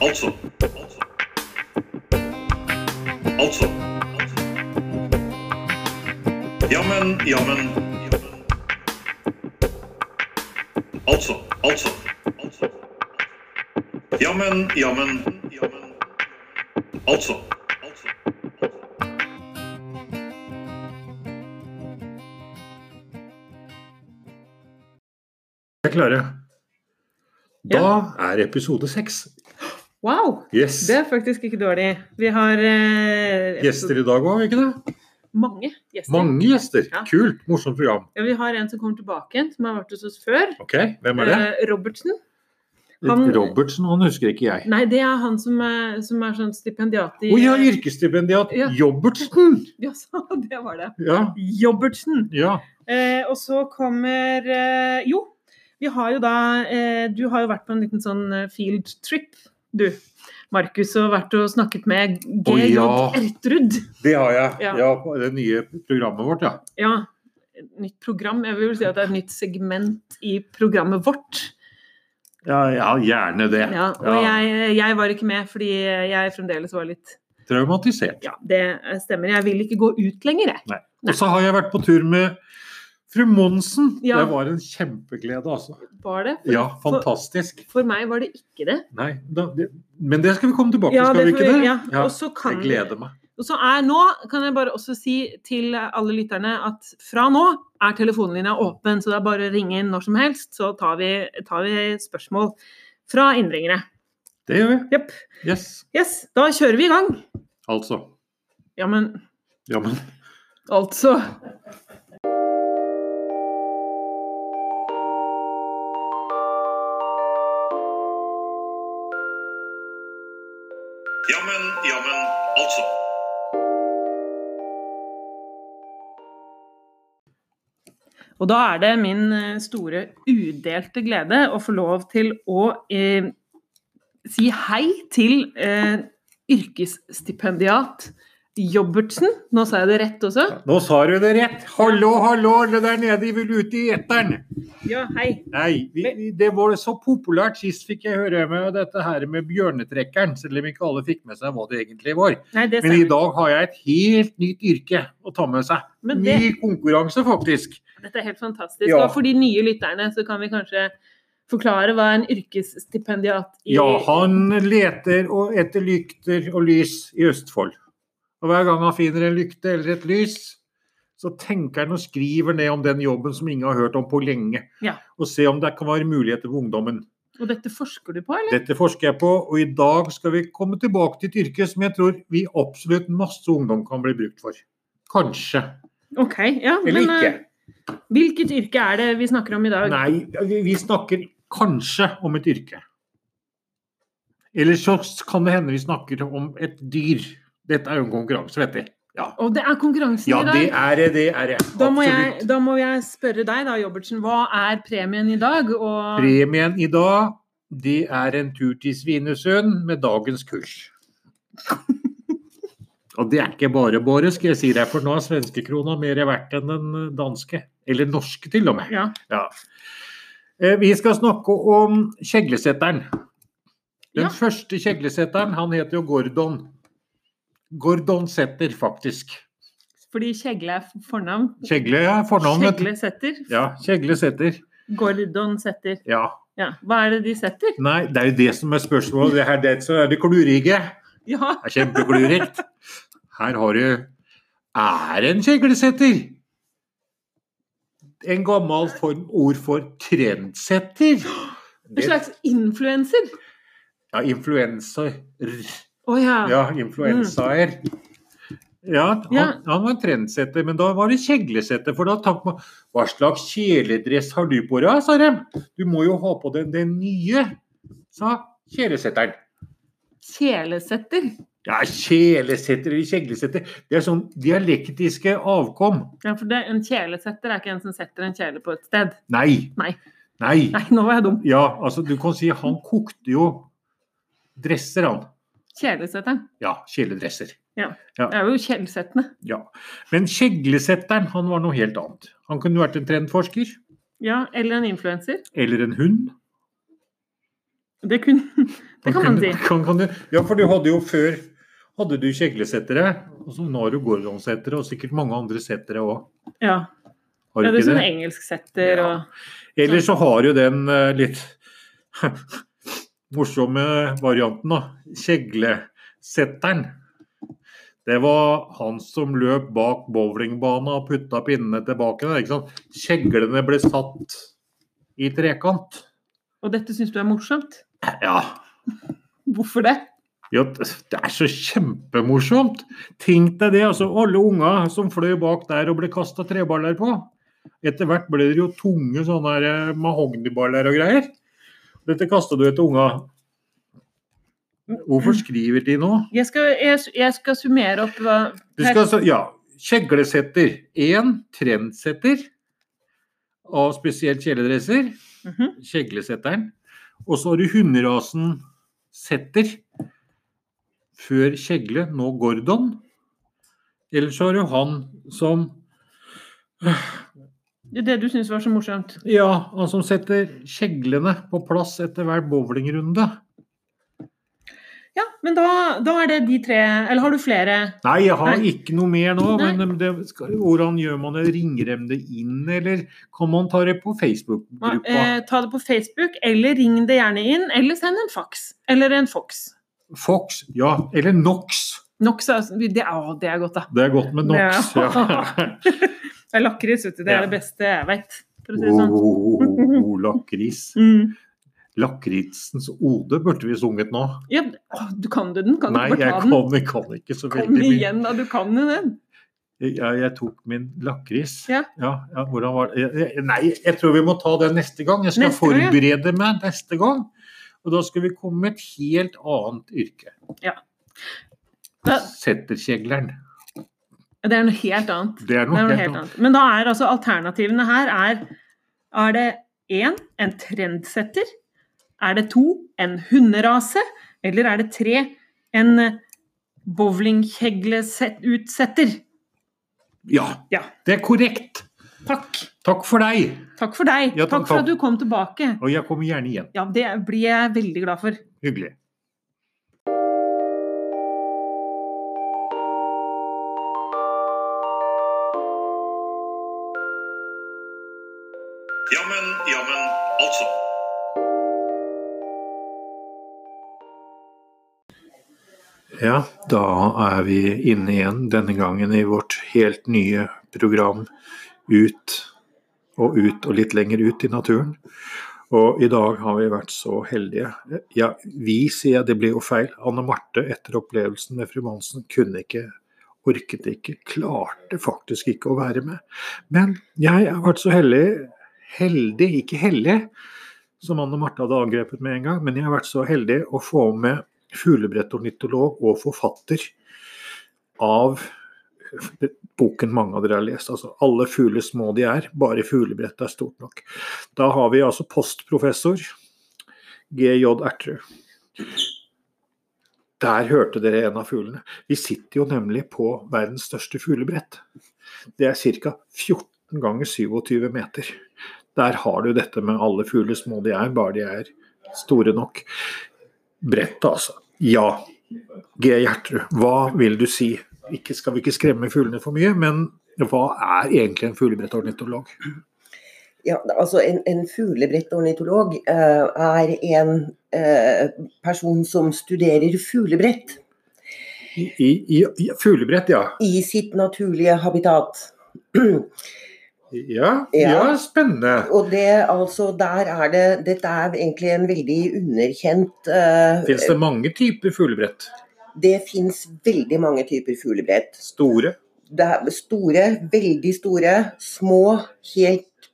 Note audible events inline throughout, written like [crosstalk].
Altså. Altså. Jammen, jammen. Altså, altså. Jammen, jammen. Altså. Vi er klare. Da er episode seks. Wow! Yes. Det er faktisk ikke dårlig. Vi har eh, Gjester i dag òg, ikke det? mange gjester. Mange gjester. Ja. Kult, morsomt program. Ja, vi har en som kommer tilbake igjen, som har vært hos oss før. Ok, hvem er det? Eh, Robertsen. han- Robertsen, han husker ikke jeg. Nei, det er han som er, som er sånn stipendiat i Å ja, yrkesstipendiat Ja. Jobbertsen! [laughs] Ja, så, det var det. Ja. Jobbertsen. ja. Eh, og så kommer eh, Jo, vi har jo da eh, Du har jo vært på en liten sånn eh, field trip, du. Markus og vært og snakket med Å, GJ ja. Ertrud. Det har jeg. Ja. Ja, på det nye programmet vårt, ja. Ja, et nytt program. Jeg vil si at det er et nytt segment i programmet vårt. Ja, ja gjerne det. Ja, og Ja. Jeg, jeg var ikke med fordi jeg fremdeles var litt Traumatisert. Ja, det stemmer. Jeg vil ikke gå ut lenger, jeg. Nei. Og så har jeg vært på tur med fru Monsen. Ja. Det var en kjempeglede, altså. Var det? For, Ja, fantastisk. for meg var det ikke det. Nei, da, det, men det skal vi komme tilbake til, Ja, skal vi det ikke får det? vi- ja. Ja, Og så kan jeg gleder meg. Og så er nå, kan jeg bare også si til alle lytterne, at fra nå er telefonlinja åpen, så det er bare å ringe inn når som helst, så tar vi, tar vi spørsmål fra innringere. Det gjør vi. Jepp. Yes. Yes, da kjører vi i gang. Altså. Ja, men Ja, men altså Jammen, jammen. Altså. Og da er det min eh, store udelte glede å få lov til å eh, si hei til eh, yrkesstipendiat Jobbertsen. Nå sa jeg det rett også. Nå sa du det rett! Hallo, hallo, det der nede vi vil ut i eteren! Ja, hei. Nei, vi, vi- det var så populært sist fikk jeg høre med dette her med bjørnetrekkeren, selv om ikke alle fikk med seg hva det egentlig var. Nei, det Men i stemmer. dag har jeg et helt nytt yrke å ta med seg. Men det, Ny konkurranse, faktisk. dette er helt fantastisk. Ja. Og for de nye lytterne så kan vi kanskje forklare hva en yrkesstipendiat i Ja, han leter og etter lykter og lys i Østfold. Og hver gang han finner en lykte eller et lys, så tenker han og skriver ned om den jobben som ingen har hørt om på lenge. Ja. Og se om det kan være muligheter for ungdommen. Og dette forsker du på, eller? Dette forsker jeg på, og i dag skal vi komme tilbake til et yrke som jeg tror vi absolutt masse ungdom kan bli brukt for. Kanskje. OK. Ja, Eller men ikke. eh, hvilket yrke er det vi snakker om i dag? Nei, vi- vi snakker kanskje om et yrke. Eller så kan det hende vi snakker om et dyr. Dette er jo en konkurranse, vet vi. Ja, Og det er konkurransen ja i dag. det er det. det er det. Da må, jeg, Absolutt. da må jeg spørre deg da, Jobbertsen, hva er premien i dag? Og Premien i dag, det er en tur til Svinesund med dagens kurs. Og det er ikke bare bare, skal jeg si deg, for nå er svenskekrona mer verdt enn den danske. Eller norske, til og med. ja, Ja. Eh, Vi skal snakke om kjeglesetteren. Den Ja. første kjeglesetteren, han heter jo Gordon. Gordon Setter, faktisk. fordi Kjegle er f- fornavn. Kjegle er fornavnet. Kjegle setter. Ja, Kjegle Setter. Gordon setter. Ja. Ja. Hva er det de setter? Nei, det er jo det som er spørsmålet. Det her det er- så er det klurige. Ja, Det er kjempeklurigt. Her har du Er en kjeglesetter? En gammel form, ord for trendsetter. en Det, slags influenser. ja, influenser. Å ja. Ja, influensaer. Ja, han, Ja. han var trendsetter, men da var det kjeglesetter. For da tenkte man Hva slags kjeledress har du på deg, sa de. Du må jo ha på deg den nye, sa kjelesetteren. Kjelesetter. Ja, kjelesetter eller kjeglesetter. Det er sånn dialektiske avkom. Ja, for det, en kjelesetter er ikke en som setter en kjele på et sted. Nei. Nei. Nei. Nei, nå var jeg dum. Ja, altså du kan si han kokte jo dresser, han. Kjelesetteren. Ja, kjeledresser. Det er jo kjelesettene. Ja. Men kjeglesetteren, han var noe helt annet. Han kunne vært en trendforsker. Ja, eller en influenser. Eller en hund. Det, kunne, [laughs] det kan man si. Kan, kan du, ja, for du hadde jo før hadde du kjeglesettere, og så nå har du gordonsettere, og sikkert mange andre settere òg. Ja. Har ja du det er ikke sånn det? engelsksetter Ja. og Eller så har jo den eh, litt [laughs] morsomme varianten, da. Kjeglesetteren. Det var han som løp bak bowlingbana og putta pinnene tilbake. Der, ikke sant? Kjeglene ble satt i trekant. Og dette syns du er morsomt? Ja, Hvorfor det? Ja, det er så kjempemorsomt! Tenk deg det, altså. Alle unga som fløy bak der og ble kasta treballer på. Etter hvert ble det jo tunge sånne her, eh, mahogniballer og greier. Dette kasta du etter unga. Hvorfor skriver de nå? Jeg skal, jeg, jeg skal summere opp hva Du skal altså, ja, Kjeglesetter. Én trendsetter av spesielt kjeledresser. Mhm. Kjeglesetteren. Og så har du hunderasen setter. Før kjegle, nå Gordon. Eller så har du han som Det du syns var så morsomt. Ja, han som setter kjeglene på plass etter hver bowlingrunde. Ja, men da, da er det de tre Eller har du flere? Nei, jeg har Nei. ikke noe mer nå, Nei. men det, skal, hvordan gjør man det? Ringer de det inn, eller kan man ta det på Facebook-gruppa? Eh, ta det på Facebook, eller ring det gjerne inn, eller send en fax. Eller en Fox. Fox, ja. Eller Nox. Nox er altså, det, å, det er godt, da. Det er godt med Nox. Ja. Ja. Det er lakris, vet du. Det Ja. er det beste jeg veit, [laughs] for å si det Oh, sånn. oh, oh, oh, lakris. Mm. Lakritsens ode burde vi sunget nå. Ja, å, du kan du den? Kan Nei, du ikke jeg bare ta den? kan, jeg kan ikke så veldig Kom mye. igjen, da. Du kan jo den. Ja, jeg tok min lakris. Ja. Ja, ja, hvordan var det? Jeg- jeg- Nei, jeg tror vi må ta det neste gang. Jeg skal Neste gang, ja. forberede meg neste gang. Og da skal vi komme med et helt annet yrke. Ja. Da- Setterkjegleren. Det er noe helt annet. Det er noe, Det er noe helt helt annet. annet. Men da er altså alternativene her er, er det én en trendsetter? Er det to en hunderase? Eller er det tre en eh, bowlingkjegleutsetter? Ja, Ja. det er korrekt. Takk. Takk for deg. Takk for deg. Ja, takk, takk for takk. at du kom tilbake. Og jeg kommer gjerne igjen. Ja, det blir jeg veldig glad for. Hyggelig. Jammen, jammen, altså. Ja, da er vi inne igjen, denne gangen i vårt helt nye program Ut og ut og litt lenger ut i naturen. Og i dag har vi vært så heldige. Ja, vi sier jeg, det blir jo feil. Anne Marte, etter opplevelsen med fru Monsen, kunne ikke, orket ikke, klarte faktisk ikke å være med. Men jeg har vært så heldig, heldig, ikke heldig, som Anne Marte hadde angrepet med en gang, men jeg har vært så heldig å få med fuglebrettornitolog og forfatter av boken mange av dere har lest, altså 'Alle fugler små de er, bare fuglebrettet er stort nok'. Da har vi altså postprofessor GJ Ertrud. Der hørte dere en av fuglene. Vi sitter jo nemlig på verdens største fuglebrett. Det er ca. 14 ganger 27 meter. Der har du dette med alle fugler små de er, bare de er store nok. Brett, altså. Ja, G. Gjertrud, hva vil du si? Ikke skal vi ikke skremme fuglene for mye, men hva er egentlig en fuglebrettornitolog? Ja, altså En, en fuglebrettornitolog eh, er en eh, person som studerer fuglebrett I, i, i fuglebrett, ja. i sitt naturlige habitat. [clears throat] Ja, ja. Ja. spennende. Og det altså, der er det Dette er egentlig en veldig underkjent eh, Fins det mange typer fuglebrett? Det fins veldig mange typer fuglebrett. Store? Det er store, veldig store, små, helt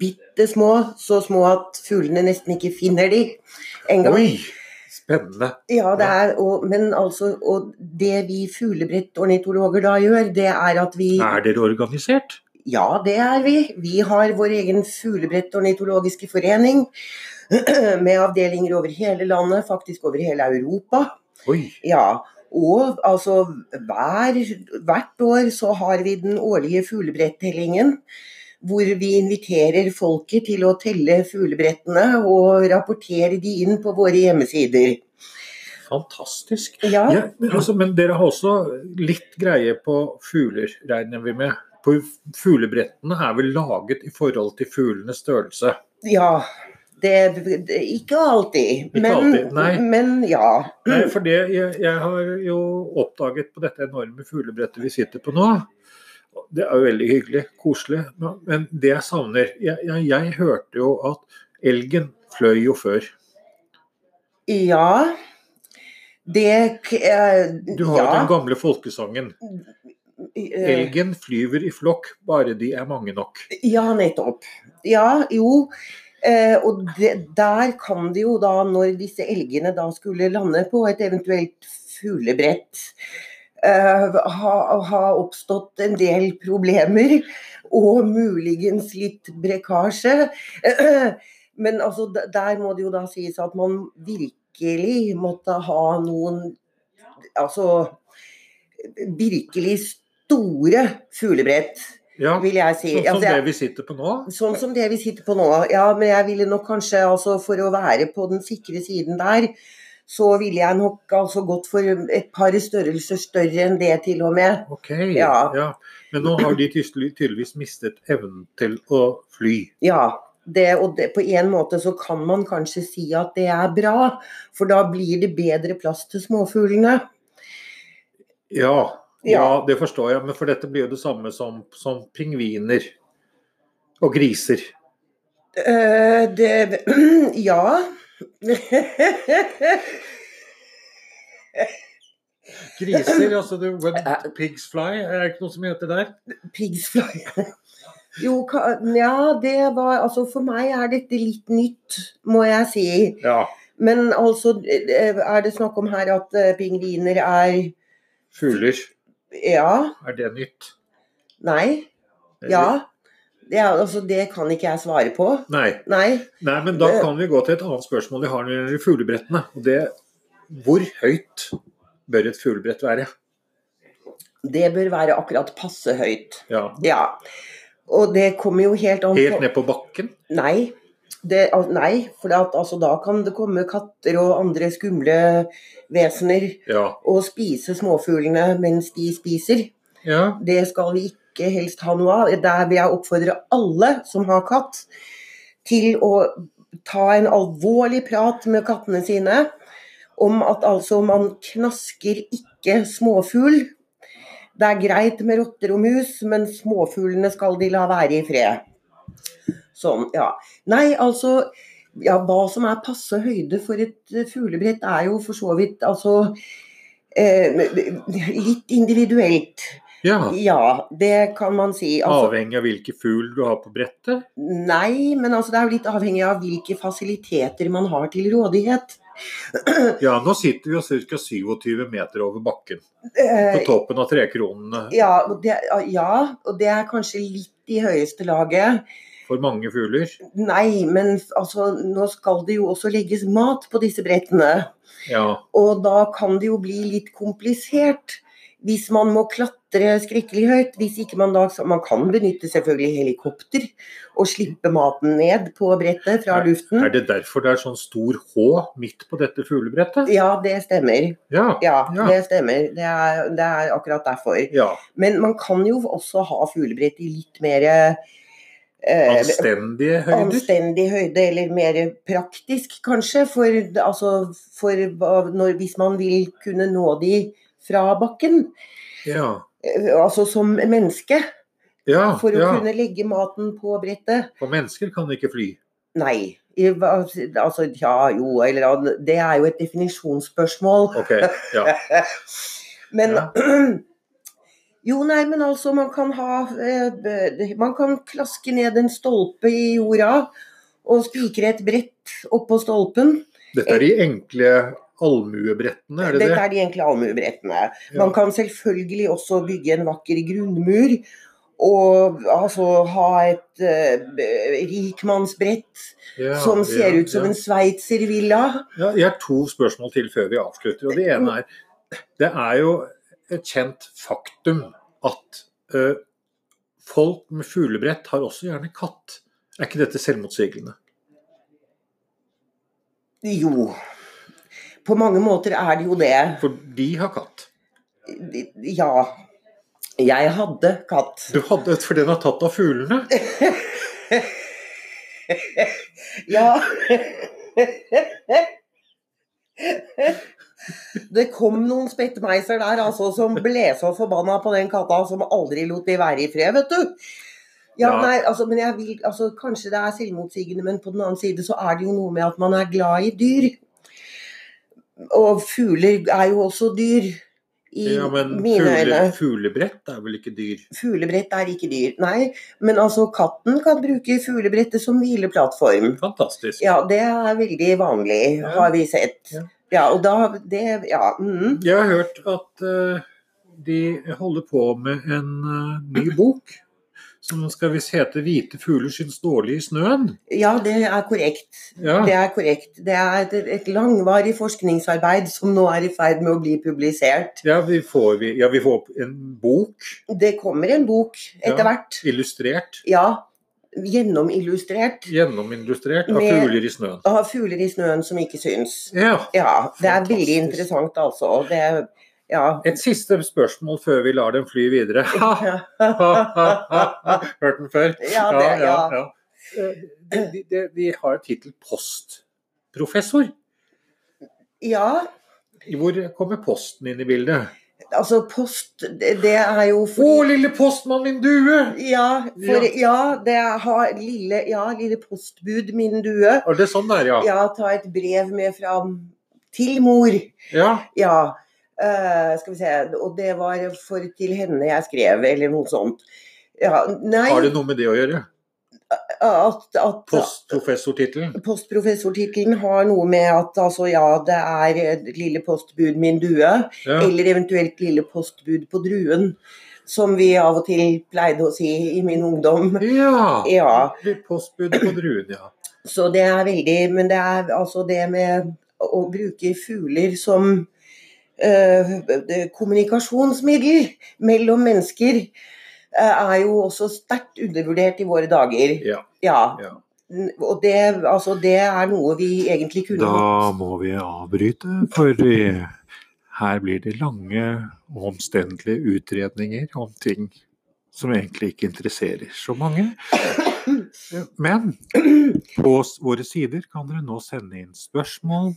bitte små. Så små at fuglene nesten ikke finner de engang. Oi, spennende. Ja, det er, og, men altså, og det vi fuglebrettornitologer da gjør, det er at vi Er dere organisert? Ja, det er vi. Vi har vår egen fuglebrettornitologiske forening [clears throat] med avdelinger over hele landet, faktisk over hele Europa. Oi, Ja, og altså hver, hvert år så har vi den årlige fuglebrettellingen. hvor vi inviterer folket til å telle fuglebrettene og rapportere de inn på våre hjemmesider. Fantastisk. Ja, Ja, men, altså, men dere har også litt greie på fugler, regner vi med. For fuglebrettene er vel laget i forhold til fuglenes størrelse. ja det, det, ikke alltid, Ikke men, alltid, nei. men ja. Nei, for det, jeg, jeg har jo oppdaget på dette enorme fuglebrettet vi sitter på nå. Det er jo veldig hyggelig, koselig. men- Men det jeg savner Jeg, jeg, jeg hørte jo at elgen fløy jo før. Ja. Det k- eh, Du har jo ja. den gamle folkesangen. Eh, Elgen flyver i flokk, bare de er mange nok. Ja, nettopp. Ja, jo. Eh, og det, der kan det jo da, når disse elgene da skulle lande på et eventuelt fuglebrett, eh, ha, ha oppstått en del problemer. Og muligens litt brekkasje. [clears throat] Men altså, d- der må det jo da sies at man virkelig måtte ha noen Altså virkelig store fuglebrett, Ja, vil jeg si. Sånn som Altså, jeg- det vi sitter på nå. Sånn som det vi sitter på nå. Ja, men jeg ville nok kanskje, altså for å være på den sikre siden der, så ville jeg nok altså gått for et par størrelser større enn det til og med. Ok, Ja. ja. Men nå har de tydelig- tydeligvis mistet evnen til å fly. Ja. Det, og det, på en måte så kan man kanskje si at det er bra, for da blir det bedre plass til småfuglene. Ja, Ja. ja det forstår jeg, men for dette blir jo det samme som, som pingviner og griser. Eh, det [clears throat] Ja. [laughs] Griser, altså du, when Eh, pigs fly, er det ikke noe som heter der? Pigs fly. Jo, ka- ja, det var Altså, for meg er dette litt nytt, må jeg si. Ja, Men altså, eh, er det snakk om her at eh, pingviner er fugler. Ja, Er det nytt? nei, Eller- ja. Det, er, altså, det kan ikke jeg svare på. Nei. Nei. Nei, men da kan vi gå til et annet spørsmål vi har når det gjelder fuglebrettene. Og det hvor høyt bør et fuglebrett være? Det bør være akkurat passe høyt. Ja, Ja. Og det kommer jo helt an Helt ned på bakken? Nei. Det, al- nei, for at, altså, da kan det komme katter og andre skumle vesener Ja. og spise småfuglene mens de spiser. ja. Det skal vi ikke helst ha noe av. Der vil jeg oppfordre alle som har katt, til å ta en alvorlig prat med kattene sine om at altså man knasker ikke småfugl. Det er greit med rotter og mus, men småfuglene skal de la være i fred. Sånn, ja. Nei, altså ja, Hva som er passe høyde for et eh, fuglebrett, er jo for så vidt altså eh, litt individuelt. Ja, Ja, det kan man si. Altså, Avhengig av hvilken fugl du har på brettet? nei, men altså, det er jo litt avhengig av hvilke fasiliteter man har til rådighet. Ja, nå sitter vi jo ca. 27 meter over bakken, på Eh, toppen av trekronene ja, og det, ja, og det er kanskje litt i høyeste laget. for mange fugler. Nei, men f- altså, nå skal det jo også legges mat på disse brettene. Ja, Og da kan det jo bli litt komplisert hvis man må klatre skrekkelig høyt. Hvis ikke man da Man kan benytte selvfølgelig helikopter og slippe maten ned på brettet fra luften. Er det derfor det er sånn stor H midt på dette fuglebrettet? Ja, det stemmer. Ja. Ja, Ja. det stemmer. Det er, det er akkurat derfor. ja. Men man kan jo også ha fuglebrett i litt mer eh, Anstendige høyder? anstendig høyde, eller mer praktisk kanskje. For, altså, for hva- når, hvis man vil kunne nå de fra bakken, Ja. eh, altså som menneske, ja, for å ja. kunne legge maten på brettet. For mennesker kan ikke fly. Nei. I hva- Altså, ja, jo, eller ja, Det er jo et definisjonsspørsmål. Ok, ja. [laughs] Men Ja. [clears throat] Jo, nei, men altså, man kan ha eh, b- Man kan klaske ned en stolpe i jorda og spikre et brett oppå stolpen. Dette er de enkle allmuebrettene, er det Dette det? er de enkle allmuebrettene. Ja. Man kan selvfølgelig også bygge en vakker grunnmur. Og altså ha et eh, b- rikmannsbrett Ja, som ser ja, ut som ja. en sveitservilla. Ja, jeg har to spørsmål til før vi avslutter. og Det ene er det er jo et kjent faktum at eh, Folk med fuglebrett har også gjerne katt. Er ikke dette selvmotsigende? Jo. På mange måter er det jo det. For de har katt. Ja. Jeg hadde katt. Du hadde et, for den er tatt av fuglene. [laughs] Ja. Det kom noen spettmeiser der altså, som ble så forbanna på den katta som aldri lot de være i fred, vet du. Ja, Ja. Nei, altså, men jeg vil, altså, kanskje det er selvmotsigende, men på den annen side så er det jo noe med at man er glad i dyr. Og fugler er jo også dyr, i Ja, men mine fugle, øyne. fuglebrett er vel ikke dyr? Fuglebrett er ikke dyr, nei. Men altså, katten kan bruke fuglebrettet som hvileplattform. Fantastisk. Ja, det er veldig vanlig, Ja. har vi sett. Ja. Ja, og da det, Ja. Mm. Jeg har hørt at eh, de holder på med en eh, ny bok som skal visst hete 'Hvite fugler syns dårlig i snøen'. ja det er korrekt. Ja, Det er korrekt. Det er et, et langvarig forskningsarbeid som nå er i ferd med å bli publisert. ja, vi, får, vi, ja vi får opp en bok Det kommer en bok etter Ja. hvert. illustrert, Ja. Gjennomillustrert. gjennomillustrert av Med- fugler i snøen. Av fugler i snøen som ikke syns. Ja, Ja. Det er veldig Fantastisk. interessant, altså. Det er Ja. Et siste spørsmål før vi lar den fly [laughs] videre. Ha, ha, ha, ha. [laughs] Hørt den før? Ja, det- ja. ja. Eh, De, de, de, de har tittel postprofessor. ja. Hvor kommer posten inn i bildet? Altså, post, det det er jo Å, fordi lille postmann, min due! ja, for, Ja. ja, det har lille, ja, lille postbud, min due. Er det sånn der, ja? Ja, ta et brev med fra til mor. Ja. Ja. eh, skal vi se Og det var for til henne jeg skrev, eller noe sånt. Ja, nei Har det noe med det å gjøre? at, at, Postprofessortittelen? Postprofessortittelen har noe med at altså, ja, det er eh, lille postbud, min due. Ja. Eller eventuelt lille postbud på druen, som vi av og til pleide å si i min ungdom. ja. Ja, Postbudet på druen, ja. så det er veldig Men det er altså det med å bruke fugler som eh, det- kommunikasjonsmiddel mellom mennesker eh, er jo også sterkt undervurdert i våre dager. Ja. Ja. Ja. N- Og det, altså, det er noe vi egentlig kunne Da må vi avbryte, for eh, her blir det lange og omstendelige utredninger om ting som egentlig ikke interesserer så mange. Eh, Men på s- våre sider kan dere nå sende inn spørsmål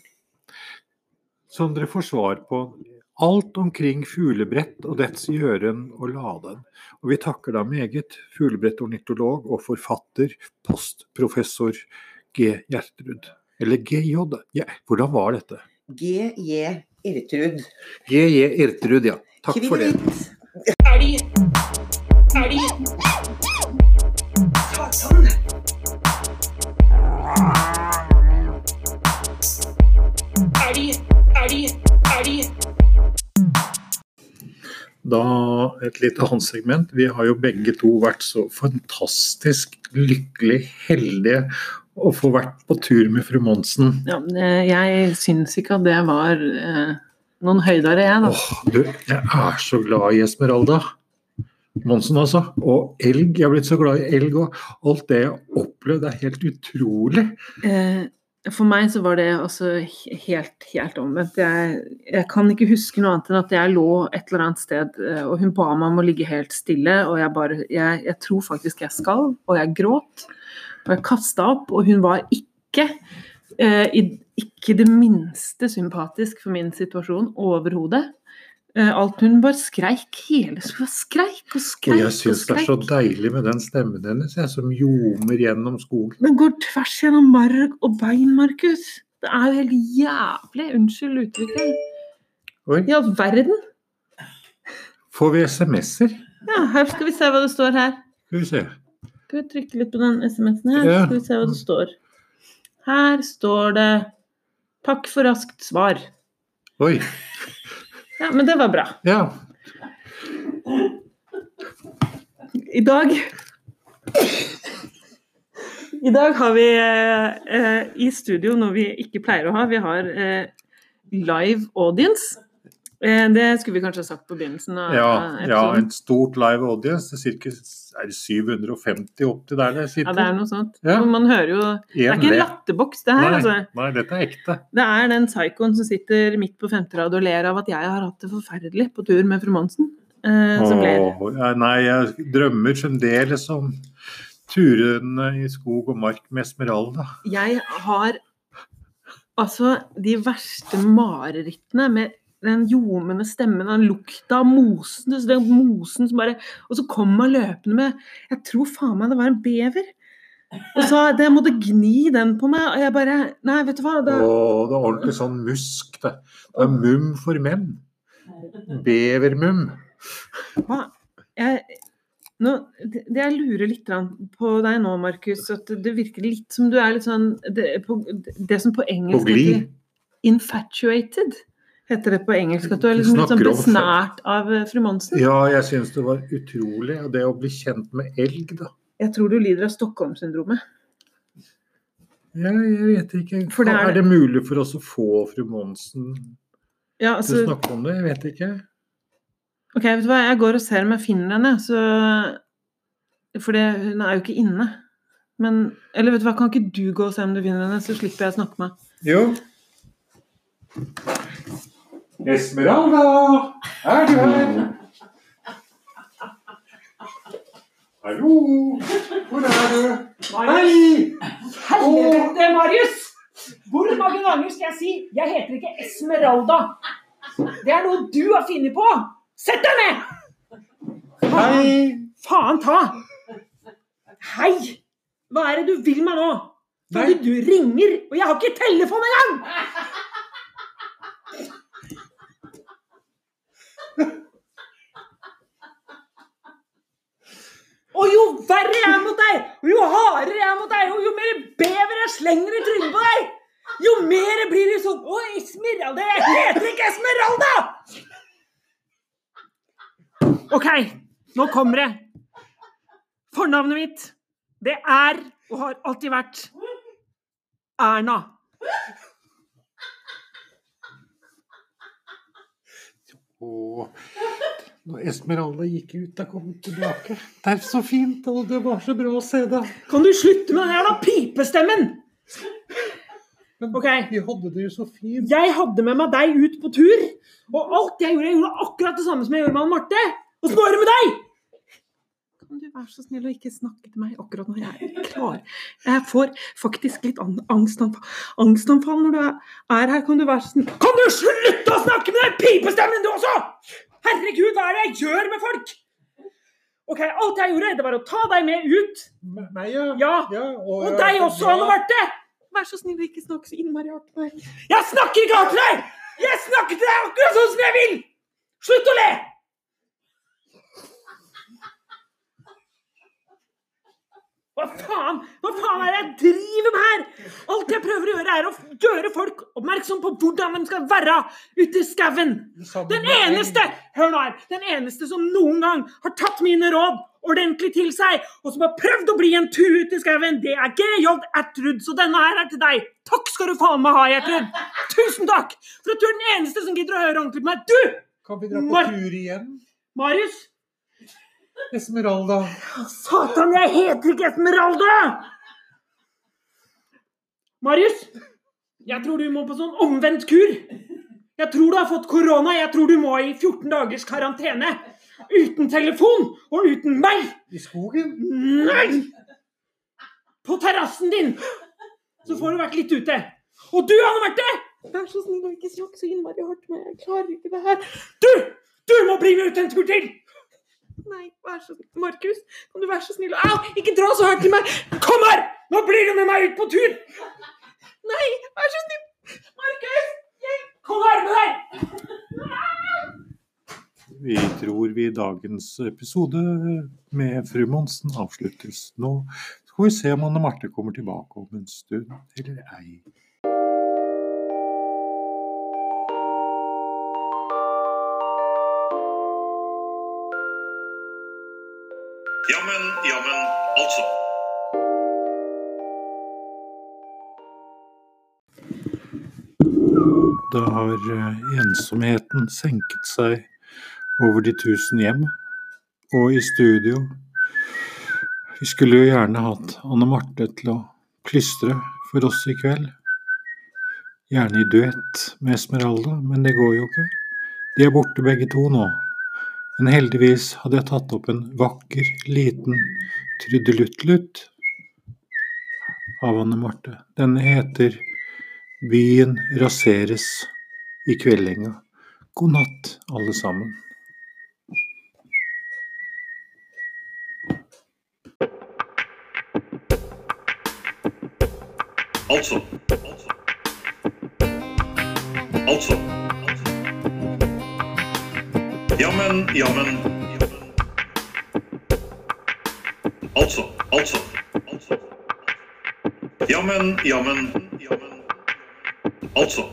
som dere får svar på. Alt omkring fuglebrett og dets gjøren og laden. Og vi takker da meget fuglebrettornitolog og forfatter, postprofessor G. Gjertrud. Eller GJ ja, Hvordan var dette? G.J. Irtrud. GJ Ertrud, ja. Takk for det. Kvitt. Da et lite annet segment. Vi har jo begge to vært så fantastisk lykkelig heldige å få vært på tur med fru Monsen. Ja, men, eh, jeg syns ikke at det var eh, noen høydere, jeg, da. Åh, du, jeg er så glad i Esmeralda. Monsen, altså. Og elg. Jeg er blitt så glad i elg, og alt det jeg har opplevd er helt utrolig. Eh, for meg så var det altså he- helt, helt omvendt. Jeg, jeg kan ikke huske noe annet enn at jeg lå et eller annet sted, eh, og hun ba meg om å ligge helt stille, og jeg bare Jeg, jeg tror faktisk jeg skalv, og jeg gråt. Og jeg kasta opp, og hun var ikke eh, i, ikke det minste sympatisk for min situasjon overhodet. Eh, alt Hun bare skreik hele Hun skreik og skreik. Og jeg syns det er så skreik. deilig med den stemmen hennes, jeg, som ljomer gjennom skogen. Den går tvers gjennom marg og bein, Markus. Det er jo helt jævlig. Unnskyld uttrykket. Oi. I all verden. Får vi SMS-er? Ja, her skal vi se hva det står her. Skal vi se. Skal vi trykke litt på den SMS-en her, så Ja. skal vi se hva det står. Her står det 'Takk for raskt svar'. Oi. Ja, men det var bra. Ja. I dag I dag har vi eh, eh, i studio noe vi ikke pleier å ha. Vi har eh, live audience. Eh, Det skulle vi kanskje ha sagt på begynnelsen av Ja, av ja, episoden. et stort live audience. Det er ca. 750 opp til der det Ja, det er sitter. noe sånt. Ja. Og Man hører jo Det er En ikke en le. latterboks, det her. Nei, Altså. nei, dette er ekte. Det er den psykoen som sitter midt på femte rad og ler av at jeg har hatt det forferdelig på tur med fru Monsen. Eh, som ler. Åh, ja, nei, jeg drømmer fremdeles om turene i skog og mark med Esmeralda. Jeg har altså de verste marerittene med den ljomende stemmen, den lukta av mosen, så den mosen som bare Og så kom han løpende med Jeg tror faen meg det var en bever. Og så det, Jeg måtte gni den på meg, og jeg bare Nei, vet du hva. Det, Åh, det er ordentlig sånn musk. Det, det er mum for menn. Bevermum. Hva? Jeg, nå, det det jeg lurer litt grann på deg nå, Markus, at det- det virker litt som du er litt sånn Det, på, det som på engelsk På glid. heter Infatuated, heter det på engelsk. At du er Du liksom litt sånn snakker om- besnært av eh, fru Monsen. Ja, jeg syns det var utrolig. og Det å bli kjent med elg, da. Jeg tror du lider av Stockholm-syndromet. Jeg, jeg vet ikke. For det er- er... det mulig for oss å få fru Monsen Ja, til å altså, snakke om det? Jeg vet ikke. ok, vet du hva, jeg går og ser om jeg finner henne, så For det, hun er jo ikke inne. Men Eller vet du hva, kan ikke du gå og se om du finner henne, så slipper jeg å snakke med henne? Jo. Esmeralda, er du her? Hallo, hvor er du? Hei! Helvete, Marius! Hvor mange ganger skal jeg si 'jeg heter ikke Esmeralda'? Det er noe du har funnet på! Sett deg ned! Hei! Faen ta! Hei! Hva er det du vil meg nå? For du ringer, og jeg har ikke telefon engang! Og jo verre jeg er mot deg, og jo hardere jeg er mot deg, og jo mer bever jeg slenger i trynet på deg, jo mer blir det sånn Å, Esmeralda! Jeg heter ikke Esmeralda! OK, nå kommer det. Fornavnet mitt, det er, og har alltid vært, Erna. Og når Esmeralda gikk ut, da kom hun tilbake. Det er så fint, og det var så bra å se deg. Kan du slutte med den jævla pipestemmen? OK. Vi hadde det jo så fint. Jeg hadde med meg deg ut på tur, og alt jeg gjorde, jeg gjorde akkurat det samme som jeg gjorde med han Marte. Og så nå er det med deg! Kan du være så snill å ikke snakke til meg akkurat når jeg er klar? Jeg får faktisk litt an- angstanfall, angstanfall når du er er her. Kan du være så snill Kan du slutte å snakke med den pipestemmen du også?! Herregud, hva er det jeg gjør med folk?! OK, alt jeg gjorde, det var å ta deg med ut. Meg, ja. Ja. og, Og deg også, Anne Marte! Vær så snill å ikke snakke så innmari hardt til meg. Jeg snakker ikke hardt til deg! Jeg snakker til deg akkurat sånn som jeg vil! Slutt å le! Hva faen? Hva faen er det jeg driver med her? Alt jeg prøver å gjøre, er å f- gjøre folk oppmerksom på hvordan de skal være ute i skauen. Den eneste hør nå her, den eneste som noen gang har tatt mine råd ordentlig til seg, og som har prøvd å bli en tur ut i skauen, det er GJ Ertrud. Så denne her er til deg. Takk skal du faen meg ha, Ertrud. Tusen takk for at du er den eneste som gidder å høre ordentlig på meg. Du, Kan vi dra på Mar- tur igjen? Marius. Esmeralda. Satan, jeg heter ikke Esmeralda! Marius, jeg tror du må på sånn omvendt kur. Jeg tror du har fått korona. Jeg tror du må i 14 dagers karantene. Uten telefon og uten meg. I skogen? Nei! På terrassen din. Så får du vært litt ute. Og du, Anne Marte! Vær så snill å ikke snakke så innmari hardt til meg. Jeg klarer ikke det her. Du! Du må bli med ut en tur til! Nei, vær så snill. Markus, kan du være så snill å Au! Ikke dra så hardt til meg! Kom her! Nå blir du med meg ut på tur! Nei, vær så snill! Markus! Hjelp! Kom her med deg! Vi tror vi dagens episode med fru Monsen avsluttes nå. Skal vi se om Anne Marte kommer tilbake om en stund, eller ei. Ja, men, ja, men altså. Da har eh, ensomheten senket seg over de tusen hjem, og i studio. Vi skulle jo gjerne hatt Anne Marte til å plystre for oss i kveld. Gjerne i duett med Esmeralda, men det går jo ikke. De er borte begge to nå. Men heldigvis hadde jeg tatt opp en vakker, liten trudeluttlutt av Anne Marte. Denne heter Byen raseres i kveldinga. God natt, alle sammen. Altså. Altså. Jammen, jammen. Altså, altså. Jammen, jammen. Altså.